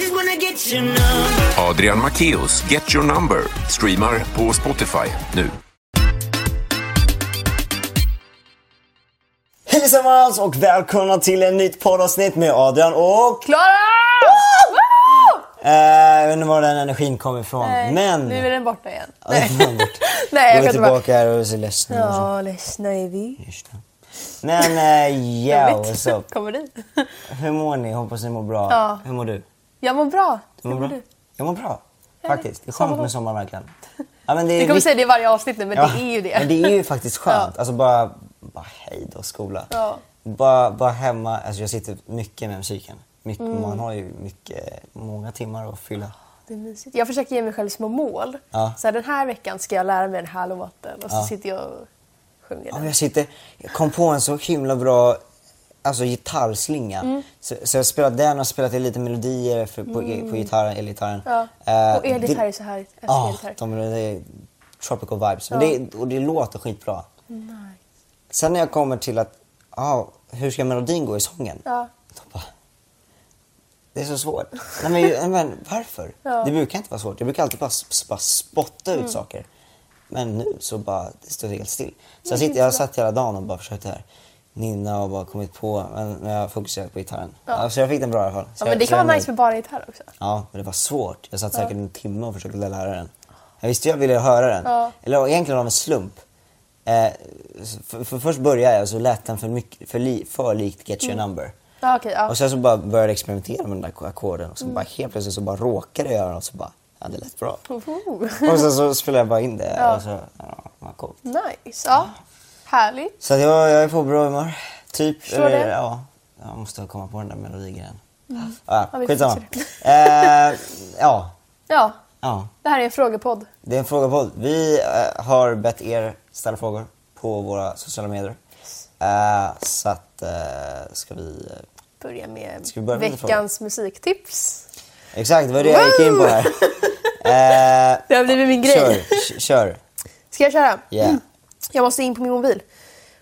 just wanna get you now. Adrian Macchios Get Your Number streamar på Spotify nu. Hejsamans och välkomna till ett nytt poddavsnitt med Adrian och... Klara! Woo! Eh, jag vet inte var den energin kom ifrån. Nej, Men... Nu är den borta igen. Ja, den var borta. Nej, Gå jag kan inte bara... tillbaka här och är så ledsen. Ja, ledsna är vi. Just det. Men eh, Jag ja, vet. what's up? Kommer dit. Hur mår ni? Hoppas ni mår bra. Ja. Hur mår du? Jag mår bra. Du mår Hur mår bra? du? Jag mår bra. Faktiskt. Det är skönt Sommar. med sommar verkligen. Ja, men det är Vi kommer vikt- säga det i varje avsnitt nu, men Ja, det är ju det. Men det är ju faktiskt skönt. Ja. Alltså bara, bara hej då skola. Ja. Bara, bara hemma, alltså jag sitter mycket med musiken. Mycket, Mm. Man har ju mycket, många timmar att fylla. Det är mysigt. Jag försöker ge mig själv små mål. Ja. Så här, den här veckan ska jag lära mig den här låten och så Ja. sitter jag och sjunger Ja, den. men jag, sitter, jag kom på en så himla bra alltså, gitarrslinga. Mm. Så, så jag spelat den och spelat lite melodier för, på, på gitarren, elgitarren. Mm. Ja. Eh, Och elgitarr det- är så härligt. Jag älskar Ja, elgitarr. de, det är tropical vibes. Men Ja. det, och det låter skitbra. Sen när jag kommer till att, ah, hur ska melodin gå i sången? Ja. Då bara, det är så svårt. Nej, men, ju- men varför? Ja. Mm. Det brukar inte vara svårt. Jag brukar alltid bara, s- bara spotta ut saker. Men nu så bara, det står helt still. Så jag, sitter, jag satt hela dagen och bara försökte här nynna och bara kommit på, men men jag fokuserade på gitarren. Ja. så jag fick den bra i alla fall. Så jag- Ja, men det så kan jag vara är nice nöjd. med bara gitarr också. Ja, men det var svårt. Jag satt säkert en timme och försökte lära den. Jag visste jag ville höra den. Ja. Eller egentligen av en slump. Eh, för, för först började jag så lät den för, mycket, för, li, för likt Get Your Number. Ja, okej. Mm. ja. Mm. Och sen så bara började jag experimentera med den där ackorden och så bara helt plötsligt så bara råkade jag göra det och så bara, ja det lät bra. Oho. Och sen så spelade jag bara in det Mm. Ja. och så, ja, vad coolt. Nice. Ja. Härligt. Så att jag, jag är på bra humör. Typ. Förstår det. ja, jag måste komma på den där melodin. Mm. Ja, Ja, vi skitsamma. fixar Eh, ja, Ja, ja. det här är en frågepodd. Det är en fråga på. Vi eh, har bett er ställa frågor på våra sociala medier. Eh, så att, eh, ska vi... Börja med Ska vi börja med lite veckans musiktips. Exakt, det var det jag gick in på här. Eh, Det har blivit min grej. kör, k- kör. Ska jag köra? Mm. Yeah. Jag måste in på min mobil.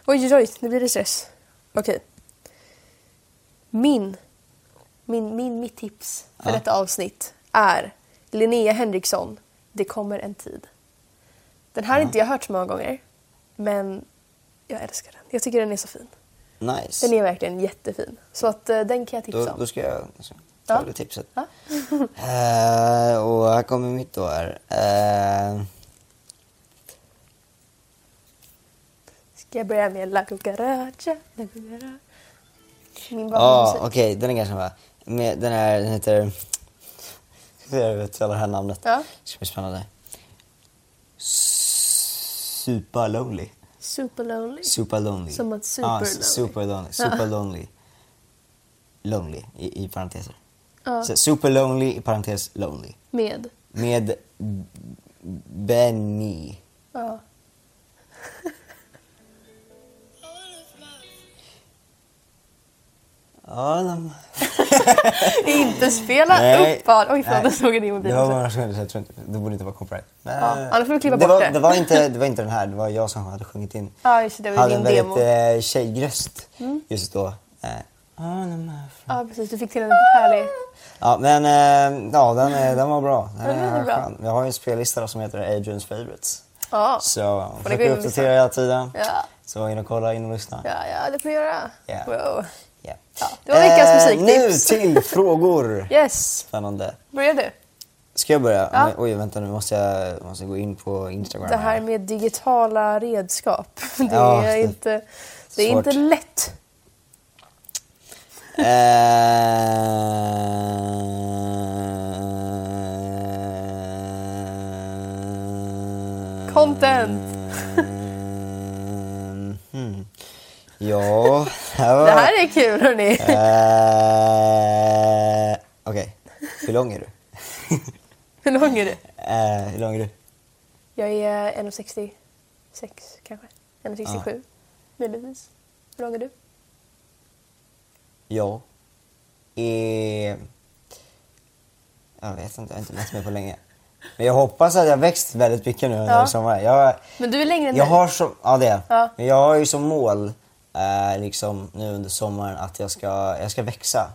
Oj, oj, oj, nu blir det stress. Okej. Min, min, min, mitt tips för detta avsnitt är Linnea Henriksson, Det kommer en tid. Den här har inte jag hört så många gånger, men jag älskar den. Jag tycker den är så fin. Nice. Den är verkligen jättefin. Så att, eh, den kan jag tipsa Då, om. då ska jag så, ta Ja. det tipset. Ja. Eh, och här kommer mitt då här. Eh, Ska jag börja med La Cucaracha, La Cucaracha. Min Ja, bakgrundsmusik. Ah, okej, den är ganska bra. Med, den här, den heter... Jag vet hela det här namnet. Ja. Det ska bli spännande. Super Lonely. Super Lonely. Super Lonely. Som att super ja, lonely. Super Lonely. Super Lonely. Lonely i, i parenteser. Ja. Så super Lonely i parentes Lonely. Med. Med B- Benny. Ja. Ja, de... Inte spela Nej. upp vad... Oj, förlåt, Nej. jag såg en i Det mobilen. var också. bara sekunder, så jag tror inte, det borde inte vara copyright. Men, eh, Ja, annars får vi klippa det, bort var, det. det, var inte, det var inte den här, det var jag som hade sjungit in. Ja, just det, det var hade din en demo. Mm. väldigt eh, tjejröst just då. Eh, Ja, precis. Du fick till en härlig... Ja, men eh, ja, den, är, den var bra. Den Den är är bra. skön. Jag har ju en spellista då som heter Adrians favorites. Ja. Så jag Får ni gå in försöker och uppdatera hela tiden. Ja. Så in och kolla, in och lyssna. Ja, ja, det får jag göra. Ja. Wow. Yeah. Eh, Ja, det var veckans Nu musiktips. till frågor. Yes. Spännande. Börjar du? Ska jag börja? Ja. Men, oj, vänta nu måste jag måste gå in på Instagram. Det här med digitala redskap. Det är, Ja, det- inte, det är svårt. inte lätt. Eh, Content. Hmm. Ja, här var... Det här är kul, hörni. Eh, Okej, hur lång är du? Hur lång är du? Eh, hur lång är du? Jag är eh, 1,66 kanske. 1,67 möjligtvis. Hur lång är du? Jag är... Eh, Jag vet inte, jag har inte mätt mig på länge. Men jag hoppas att jag växt väldigt mycket nu under Ja. sommaren. Jag, Men du är längre än jag mig. har som, ja det är jag. Ja. Men jag har ju som mål eh, liksom nu under sommaren att jag ska, jag ska växa.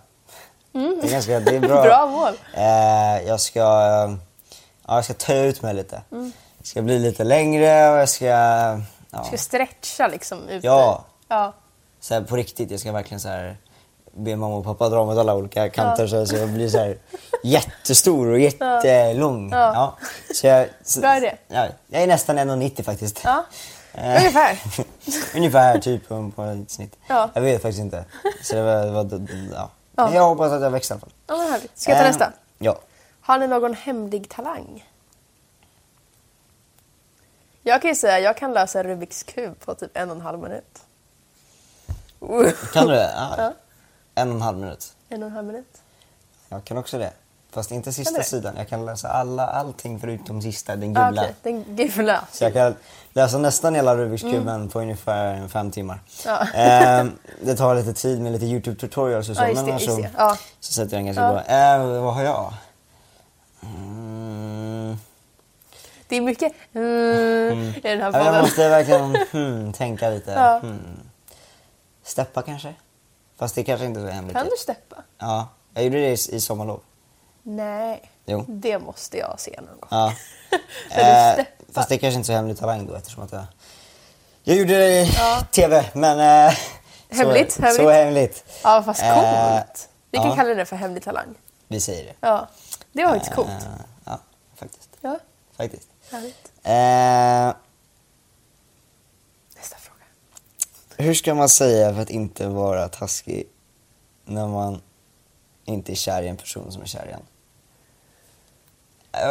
Det är ganska det är bra. Mm. Bra mål. Eh, jag, ska, eh, ja, jag ska töja ut mig lite. Mm. Jag ska bli lite längre och jag ska... Ja, Ska stretcha liksom ute. Ja. ja. så här, på riktigt, jag ska verkligen så här, be mamma och pappa dra mot alla olika kanter Ja. så, här, så jag blir så här, jättestor och jättelång. Ja. Ja. Så jag, så, Bra idé. Ja, jag är nästan 1,90 faktiskt. Ja. Eh, Ungefär. Ungefär typ på, på ett snitt. Ja. Jag vet faktiskt inte. Så det var, det var, ja. Ja. Men jag hoppas att jag växer i alla fall. ja men härligt. Ska jag ta Eh, nästa? Ja. Har ni någon hemlig talang? Jag kan ju säga jag kan lösa Rubiks kub på typ en och en halv minut. Kan du det? Ja. Ja. En och en halv minut. En och en halv minut. Jag kan också det. Fast inte Kan du sista det? sidan. Jag kan läsa alla, allting förutom sista, den Ah, gula. Okej, den gula. Så jag kan läsa nästan hela Rubiks kuben på ungefär fem timmar. Mm. Ja. Ehm, det tar lite tid med lite YouTube tutorials och så. Ja, just men det, annars just så, det. Ja. så sätter jag den ganska Ja. bra. Ehm, vad har jag? Mm. Det är mycket mm, i den här Ja, men podden. Jag måste verkligen hmm, tänka lite. Ja. Hmm. Steppa kanske? Fast det kanske inte är så hemligt. typ. Kan du steppa? Ja, jag gjorde det i, i sommarlov. Nej. Jo. Det måste jag se någon gång. Ja. När du steppar. Eh, fast det kanske inte är så hemlig talang då eftersom att jag... Jag gjorde det i TV, men... Eh, Hemligt, så, hemligt. Så hemligt. Ja, fast coolt. Eh, Vi kan ja. kalla det för hemlig talang. Vi säger det. Ja, det var faktiskt coolt. Eh, ja, faktiskt. Ja, Faktiskt. härligt. Eh, Nästa fråga. hur ska man säga för att inte vara taskig när man inte är kär i en person som är kär i en?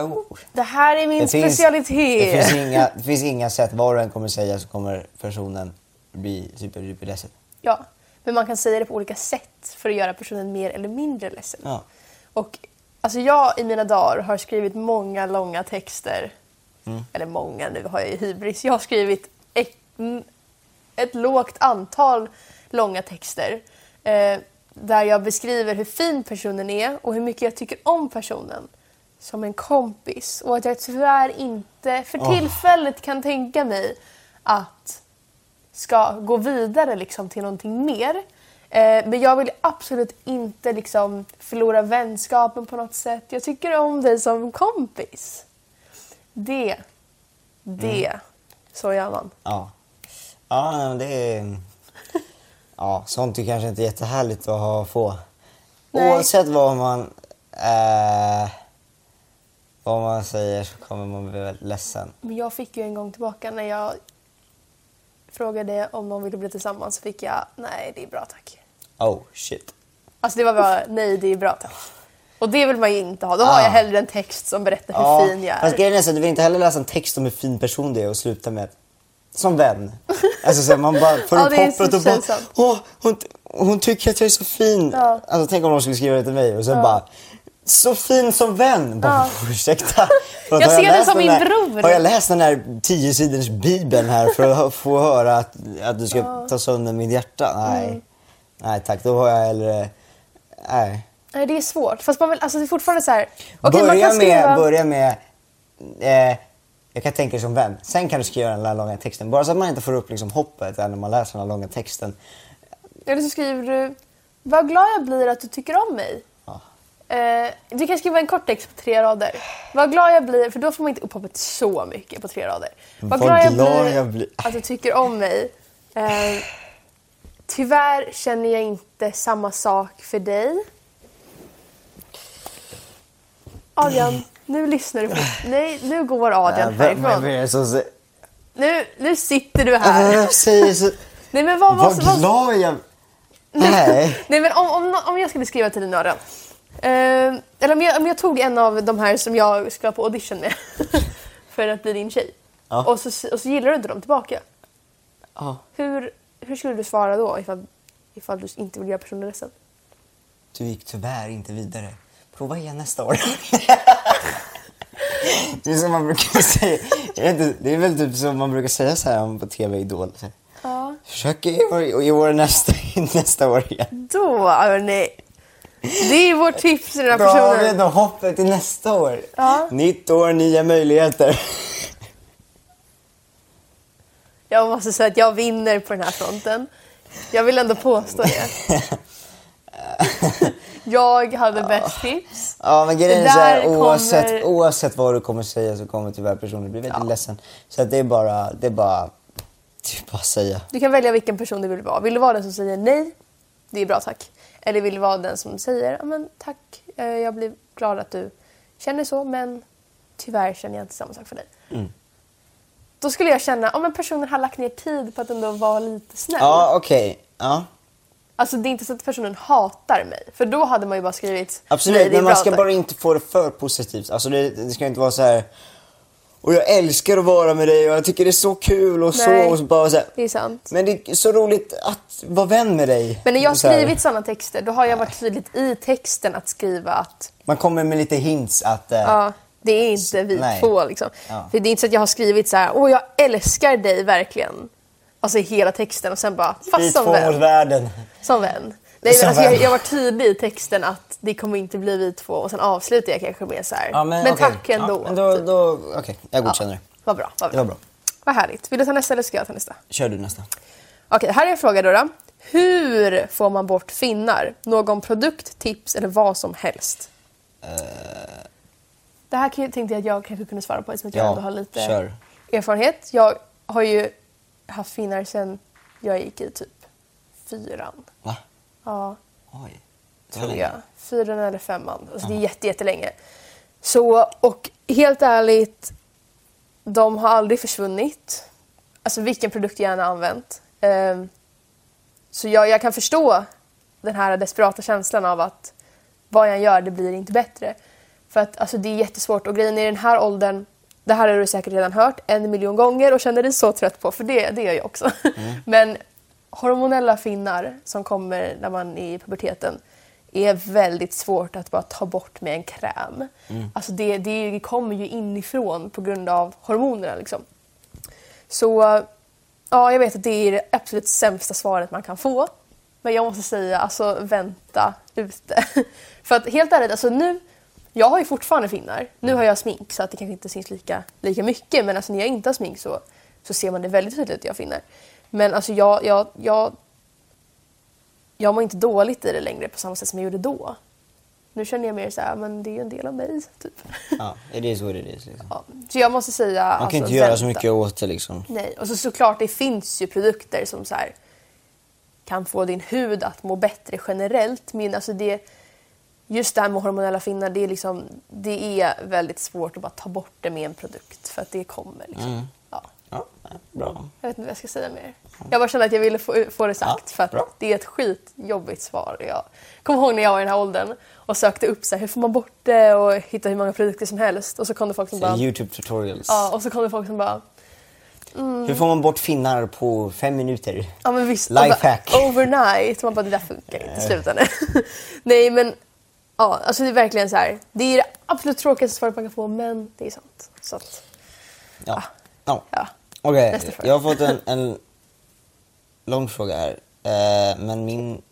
Oh. Det här är min Finns, det, specialitet. finns inga, det finns inga sätt. Vad du än kommer säga så kommer personen bli super, super ledsen. Ja, men man kan säga det på olika sätt för att göra personen mer eller mindre ledsen. Ja. Och alltså jag i mina dagar har skrivit många långa texter. Mm. Eller många, nu har jag ju hybris. Jag har skrivit ett, mm, ett lågt antal långa texter eh, där jag beskriver hur fin personen är och hur mycket jag tycker om personen som en kompis och att jag tyvärr inte för Åh. tillfället kan tänka mig att ska gå vidare liksom, till någonting mer. Eh, men jag vill absolut inte liksom, förlora vänskapen på något sätt. Jag tycker om dig som kompis. Det, det, så gör man. Ja. Ja, nej, men det är... Ja, sånt är kanske inte jättehärligt att ha få. Nej. Oavsett vad man... Eh, vad man säger så kommer man bli väldigt ledsen. Men jag fick ju en gång tillbaka när jag frågade om de ville bli tillsammans så fick jag nej, det är bra tack. Oh, shit. Alltså det var bara nej, det är bra tack. Och det vill man ju inte ha. Då har Ah. jag hellre en text som berättar hur fin jag är. Fast grejen är så att du vill inte heller läsa en text om hur fin person det är och sluta med att- som vän. Alltså så här, man bara får Ja, upp det är hoppet så och bara känsligt. Åh, hon, hon tycker att jag är så fin. Ja. Alltså tänk om någon skulle skriva det till mig och sen bara så fin som vän! Bara, Ursäkta! Förlåt, Jag har ser dig läst som den min här- bror. Har jag läst den här tiosiders bibeln här för att ha- få höra att, att du ska ta sönder mitt hjärta? Nej. Mm. Nej tack, då har jag hellre... Nej. Nej, det är svårt. Fast man vill, alltså det är fortfarande så här... okej, man börja, kan skriva... med, börja med... Eh, jag kan tänka dig som vän. Sen kan du skriva den här långa texten. Bara så att man inte får upp liksom, hoppet där när man läser den här långa texten. Eller så skriver du, vad glad jag blir att du tycker om mig. Ja. Eh, du kan skriva en kort text på tre rader. Vad glad jag blir, för då får man inte upp hoppet så mycket på tre rader. Vad, glad, jag, blir att du tycker om mig. Eh, tyvärr känner jag inte samma sak för dig. Adrian, nu lyssnar du på... Nej, nu går Adrian Äh, vem- vem härifrån. är det som säger... Nu, nu sitter du här. Äh, säger så... Nej, men vad, vad, Vad vad, glad jag... Nej. Nej men om, om, om jag skulle skriva till dig Adrian. Eh, eller om jag, om jag tog en av de här som jag ska på audition med för att bli din tjej. Ja. Och, så, och så gillar du inte dem tillbaka. Ja. Hur, hur skulle du svara då ifall, ifall du inte vill göra personen ledsen? Du gick tyvärr inte vidare. Prova igen nästa år. det är som man brukar säga. Jag vet inte, Det är väl typ som man brukar säga så här om på TV Idol. så här. Ja. Försök i år, i år nästa, nästa år igen. Då hörni. Det är vårt tips till den här Bra, har vi personen. ändå hoppet till nästa år. Ja. Nytt år, nya möjligheter. Jag måste säga att jag vinner på den här fronten. Jag vill ändå påstå det. jag hade bäst tips. Ja men grejen Det är så här, där oavsett, kommer- oavsett vad du kommer säga så kommer tyvärr personen bli väldigt Ja. ledsen. Så att det är bara, det är bara, det är bara att säga. Du kan välja vilken person du vill vara. Vill du vara den som säger nej? Det är bra tack. Eller vill du vara den som säger ja, men tack, eh, jag blir glad att du känner så men tyvärr känner jag inte samma sak för dig. Mm. Då skulle jag känna om men personen har lagt ner tid på att ändå vara lite snäll. Ja okej, ja. Alltså det är inte så att personen hatar mig för då hade man ju bara skrivit Absolut, nej, det är men man bra, ska tack." bara inte få det för positivt. Alltså det, det ska inte vara så här. och jag älskar att vara med dig och jag tycker det är så kul och Nej. så. Och så bara så här, Det är sant. Men det är så roligt att vara vän med dig. Men när jag har Så här, skrivit sådana texter då har jag varit tydligt i texten att skriva att Man kommer med lite hints att... eh, Ja, det är inte vi Nej. två. Liksom. Ja. För det är inte så att jag har skrivit så här, åh jag älskar dig verkligen. Alltså i hela texten och sen bara, vi fast som två mot vän. världen. Som vän. Nej, Som men alltså, jag, vän. jag var tydlig i texten att det kommer inte bli vi två och sen avslutar jag kanske med så här, Ja, men, okej. tack ändå. Ja, men då, typ. då, Okej, jag godkänner ja. det. Vad bra, vad Det bra. var bra. Vad härligt. Vill du ta nästa eller ska jag ta nästa? Kör du nästa. Okej, här är en fråga då. då. Hur får man bort finnar? Någon produkt, tips eller vad som helst? Eh. Det här kan ju- tänkte jag att jag kanske kunde svara på eftersom att jag Ja, ändå har lite kör. erfarenhet. Jag har ju haft finnar sedan jag gick i typ fyran. Va? Ja, Oj. Det var tror länge. jag. Fyran eller femman. Alltså, det är jätte, jättelänge. Så, och helt ärligt, de har aldrig försvunnit. Alltså vilken produkt jag än har använt. Ehm, så jag, jag kan förstå den här desperata känslan av att vad jag än gör, det blir inte bättre. För att alltså, det är jättesvårt och grejen i den här åldern, det här har du säkert redan hört en miljon gånger och känner dig så trött på, för det, det är jag också. Men hormonella finnar som kommer när man är i puberteten är väldigt svårt att bara ta bort med en kräm. Alltså det, det kommer ju inifrån på grund av hormonerna. Liksom. Så ja, jag vet att det är det absolut sämsta svaret man kan få. Men jag måste säga, alltså vänta ute. För att helt ärligt, alltså nu, jag har ju fortfarande finnar. Mm. Nu har jag smink så att det kanske inte syns lika, lika mycket men alltså när jag inte har smink så, så ser man det väldigt tydligt att jag har finnar. Men alltså jag, jag, jag, jag mår inte dåligt i det längre på samma sätt som jag gjorde då. Nu känner jag mer så här, men det är ju en del av mig. Typ. Ja, det är så det är. Liksom. Man Ja. Så jag måste säga, alltså, Man kan inte göra så mycket åt det liksom. Nej, och så såklart det finns ju produkter som så här, kan få din hud att må bättre generellt. Men alltså det, just det här med hormonella finnar, det är, liksom, det är väldigt svårt att bara ta bort det med en produkt för att det kommer. Liksom. Mm. Ja, Ja, bra. jag vet inte vad jag ska säga mer. Jag bara kände att jag ville få, få det sagt Ja, för att bra. det är ett skitjobbigt svar. Jag kommer ihåg när jag var i den här åldern och sökte upp så här, hur får man bort det och hitta hur många produkter som helst. Och så kom det folk som bara... Youtube tutorials. Ja, och så kom det folk som bara Hur får man bort finnar på fem minuter? Ja men visst. Lifehack. Och bara, Overnight. Man bara, det där funkar inte. Sluta nu. Nej men, ja alltså det är verkligen så här. Det är det absolut tråkigaste svaret man kan få men det är sant. Så att, Ja. ja. ja. Okej, Nästa fråga. jag har fått en, en lång fråga här. Eh, men min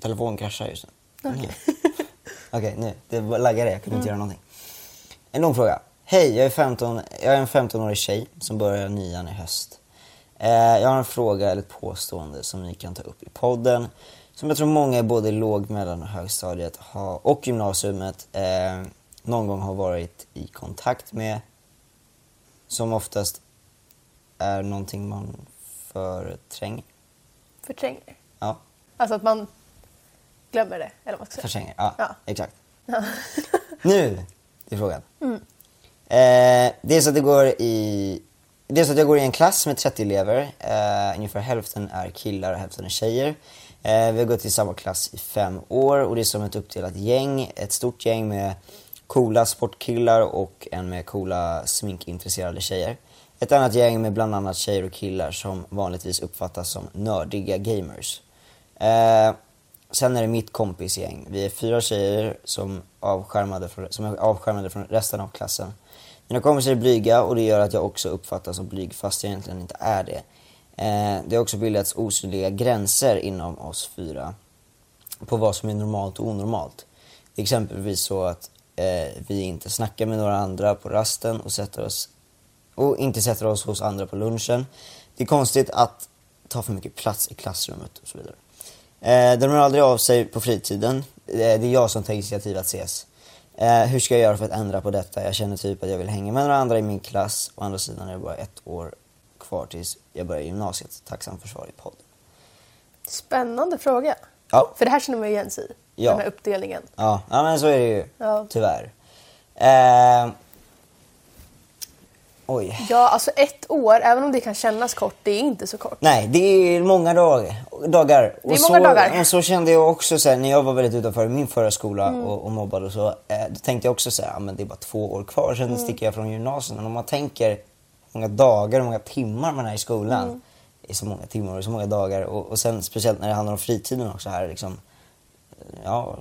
telefon kraschar just nu. Mm. Okej, nu. Det var- laggade, jag kunde inte Mm. göra någonting. En lång fråga. Hej, jag är, 15, jag är en 15-årig tjej som börjar nian i höst. Eh, jag har en fråga eller ett påstående som ni kan ta upp i podden som jag tror många i både låg-, mellan och högstadiet har, och gymnasiet eh, någon gång har varit i kontakt med som oftast är någonting man förtränger. Förtränger. Ja, Alltså att man glömmer det. Eller vad man ska säga. förtränger. Ja, Ja. exakt. Nu är frågan. Eh, det är så att det går i... Det är så att jag går i en klass med 30 elever. Eh, ungefär hälften är killar och hälften är tjejer. Eh, vi har gått i samma klass i fem år och det är som ett uppdelat gäng. Ett stort gäng med coola sportkillar och en med coola sminkintresserade tjejer. Ett annat gäng med bland annat tjejer och killar som vanligtvis uppfattas som nördiga gamers. Eh, sen är det mitt kompisgäng. Vi är fyra tjejer som, avskärmade från, som är avskärmade från resten av klassen. Mina kompisar är blyga och det gör att jag också uppfattas som blyg fast jag egentligen inte är det. Eh, det har också bildats osynliga gränser inom oss fyra på vad som är normalt och onormalt. Exempelvis så att eh, vi inte snackar med några andra på rasten och, sätter oss, och inte sätter oss hos andra på lunchen. Det är konstigt att ta för mycket plats i klassrummet och så vidare. Eh, de hör aldrig av sig på fritiden. Eh, det är jag som tar initiativ att ses. Eh, hur ska jag göra för att ändra på detta? Jag känner typ att jag vill hänga med några andra i min klass. Å andra sidan är det bara ett år kvar tills jag börjar gymnasiet. Tacksam för svar i podden. Spännande fråga. Ja. För det här känner man ju igen sig i. Ja. Den här uppdelningen. Ja, ja men så är det ju. Ja. Tyvärr. Eh, oj. Ja, alltså ett år, även om det kan kännas kort, det är inte så kort. Nej, det är många dag, dagar. Det är och många så, dagar. Och så kände jag också så här, när jag var väldigt utanför min förra skola Mm. och, och mobbad och så. Eh, då tänkte jag också så här, ah, men det är bara två år kvar, Mm. sen sticker jag från gymnasiet. Men om man tänker hur många dagar och många timmar man är i skolan. Mm. Det är så många timmar och så många dagar. Och, och sen speciellt när det handlar om fritiden också här liksom. Ja,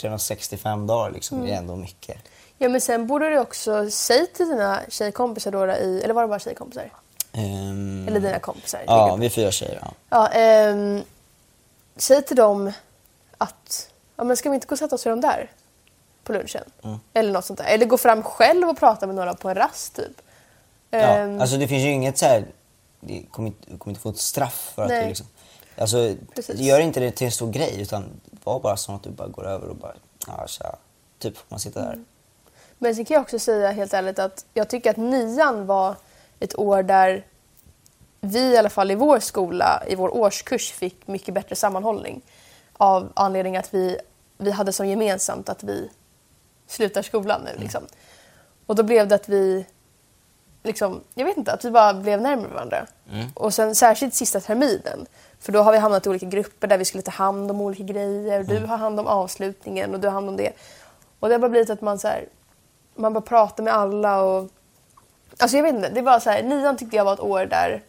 365 dagar liksom, Mm. det är ändå mycket. Ja, men sen borde du också säga till dina tjejkompisar då i, eller var det bara tjejkompisar? Ehm, Eller dina kompisar? i Ja, gruppen. vi är fyra tjejer. Ja. Ja, ehm, säg till dem att ja, men ska vi inte gå och sätta oss vid dem där på lunchen? Mm. Eller något sånt där. Eller gå fram själv och prata med några på en rast typ. Ehm, Ja, alltså det finns ju inget så här, det kommer inte, du kommer inte få ett straff för att Nej. du liksom... Alltså, Precis. gör inte det till en stor grej utan var bara som att du bara går över och bara, ja tja, typ får man sitta där. Mm, Men sen kan jag också säga helt ärligt att jag tycker att nian var ett år där vi i alla fall i vår skola, i vår årskurs, fick mycket bättre sammanhållning av anledning att vi, vi hade som gemensamt att vi slutar skolan Mm. nu. Liksom. Och då blev det att vi, liksom, jag vet inte, att vi bara blev närmare varandra. Mm. Och sen särskilt sista terminen, för då har vi hamnat i olika grupper där vi skulle ta hand om olika grejer. Mm. Du har hand om avslutningen och du har hand om det. Och det har bara blivit att man så här, man bara pratar med alla och... Alltså jag vet inte, det var så här, nian tyckte jag var ett år där,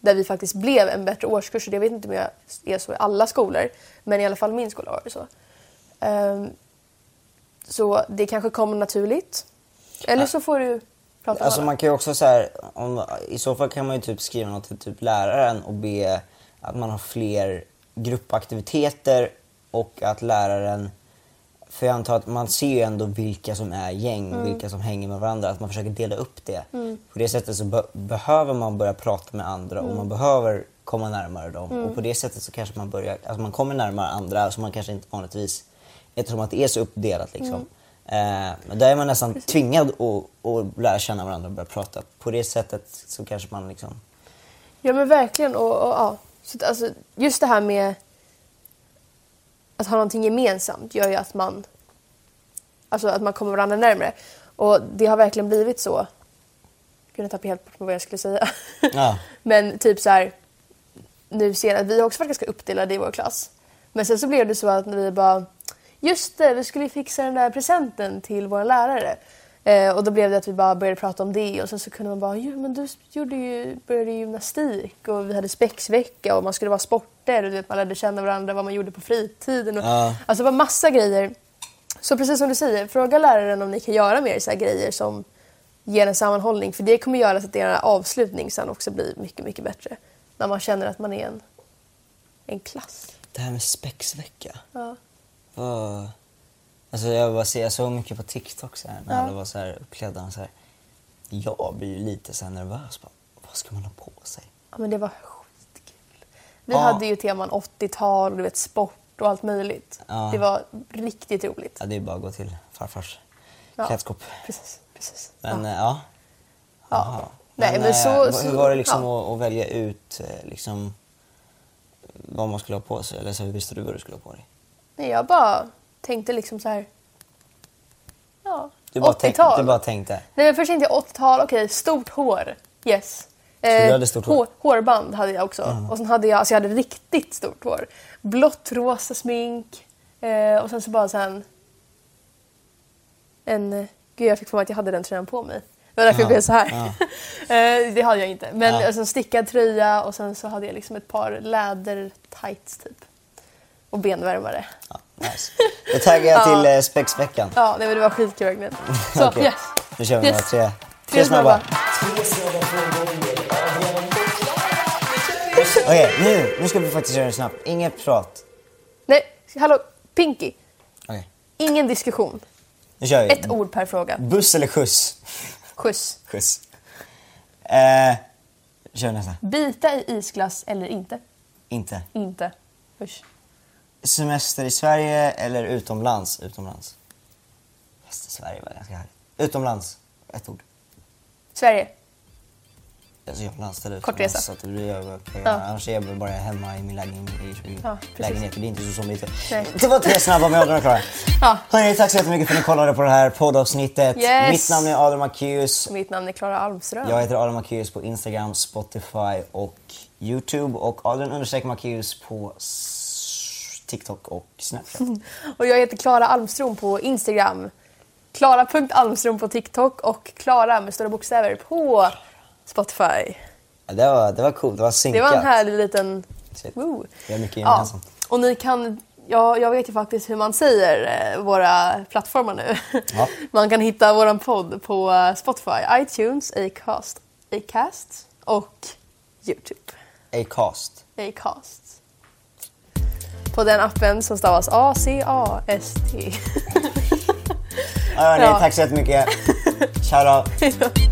där vi faktiskt blev en bättre årskurs. Och det vet inte om jag är så i alla skolor, men i alla fall min skola var det så. Ehm, så det kanske kommer naturligt. Eller så får du prata med Alltså alla. man kan ju också så här, om, i så fall kan man ju typ skriva något till typ läraren och be att man har fler gruppaktiviteter och att läraren, för jag antar att man ser ju ändå vilka som är gäng, vilka som hänger med varandra, att man försöker dela upp det. På det sättet så be- behöver man börja prata med andra och man behöver komma närmare dem och på det sättet så kanske man börjar, alltså man kommer närmare andra som man kanske inte vanligtvis, eftersom att det är så uppdelat liksom. Eh, men där är man nästan tvingad att, att lära känna varandra och börja prata. På det sättet så kanske man liksom... Ja men verkligen. Och, och, ja. så, att, alltså, just det här med att ha någonting gemensamt gör ju att man, alltså, att man kommer varandra närmare. Och det har verkligen blivit så. Gud, jag tappade helt bort vad jag skulle säga. Ja. men typ så här, nu senare, vi har också varit ganska uppdelade i vår klass. Men sen så blev det så att vi bara, just det, vi skulle ju fixa den där presenten till vår lärare. Eh, och då blev det att vi bara började prata om det och sen så kunde man bara, jo men du gjorde ju, började ju gymnastik och vi hade spexvecka och man skulle vara sporter och du vet, man lärde känna varandra, vad man gjorde på fritiden. Och, Ja. Alltså det var massa grejer. Så precis som du säger, fråga läraren om ni kan göra mer så här grejer som ger en sammanhållning. För det kommer göra så att er avslutning sen också blir mycket, mycket bättre. När man känner att man är en, en klass. Det här med spexvecka. Ja. Vad... Alltså jag, bara ser, jag såg mycket på TikTok så här, när Ja. alla var så här uppklädda. och Så här. Jag blir ju lite så här nervös. Bara, vad ska man ha på sig? ja, men det var skitkul. Vi Ja. hade ju teman 80-tal och du vet sport och allt möjligt. Ja. Det var riktigt roligt. Ja, det är bara att gå till farfars Ja. klädskåp. Precis, precis. Men ja. eh, ja. Jaha. Nej, men eh, så- vad- så- hur var det liksom ja. att, att välja ut eh, liksom, vad man skulle ha på sig? Eller så, hur visste du vad du skulle ha på dig? Nej, jag bara tänkte liksom så här... Ja, Du bara, tänk, 80-tal. du bara tänkte. Nej men först tänkte jag 80-tal, okej stort hår. Yes. Eh, du hade stort hår? Mm. Hårband hade jag också. Och sen hade jag, alltså jag hade riktigt stort hår. Blått rosa smink. Eh, och sen så bara sen... En... Gud jag fick för mig att jag hade den tröjan på mig. Det var därför jag Ja, blev så här. ja. eh, det hade jag inte. Men Ja. och sen stickad tröja och sen så hade jag liksom ett par läder-tights typ. Och benvärmare. Ja, nice. Då taggar jag till eh, spexveckan. Ja, nej, men det var skitkul verkligen. Så Okej. yes. Nu kör vi Yes. några tre, tre, snabba. Okej, nu, nu ska vi faktiskt göra det snabbt. Inget prat. Nej, hallå, Pinky. Okej, Ingen diskussion. nu kör vi. Ett ord per fråga. Buss eller skjuts? Skjuts. Skjuts. Eh, kör nästa. Bita i isglass eller inte? Inte. Inte. Usch. Semester i Sverige eller utomlands? Utomlands. Fast i Sverige var ganska härligt. Utomlands, ett ord. Sverige. Alltså jag landställer Kort utomlands, resa. Så att det blir jag, jag, Ja. Annars är jag väl bara hemma i min lägenhet. I, i Ja, precis. lägenhet. Det är inte så somrigt. Nej. Det var tre snabba med Adrian och Klara. Ja. Hörni, tack så jättemycket för att ni kollade på det här poddavsnittet. Yes. Mitt namn är Adrian Marcus. Mitt namn är Klara Almström. Jag heter Adrian Marcus på Instagram, Spotify och Youtube. Och Adrian understreck Marcus på s- TikTok och Snapchat. Och jag heter Klara Almström på Instagram. Klara.almström på TikTok och Klara med stora bokstäver på Spotify. Ja, Det var, det var coolt, det var Det synkat. var en härlig liten... Shit. Woo. Vi har mycket ja. gemensamt. Och ni kan... Ja, jag vet ju faktiskt hur man säger eh, våra plattformar nu. Ja. Man kan hitta vår podd på eh, Spotify, iTunes, Acast, Acast och Youtube. Acast. Acast. På den appen som stavas A-C-A-S-T. Ja, hörni, Ja. Tack så jättemycket. Ciao då. Hej då.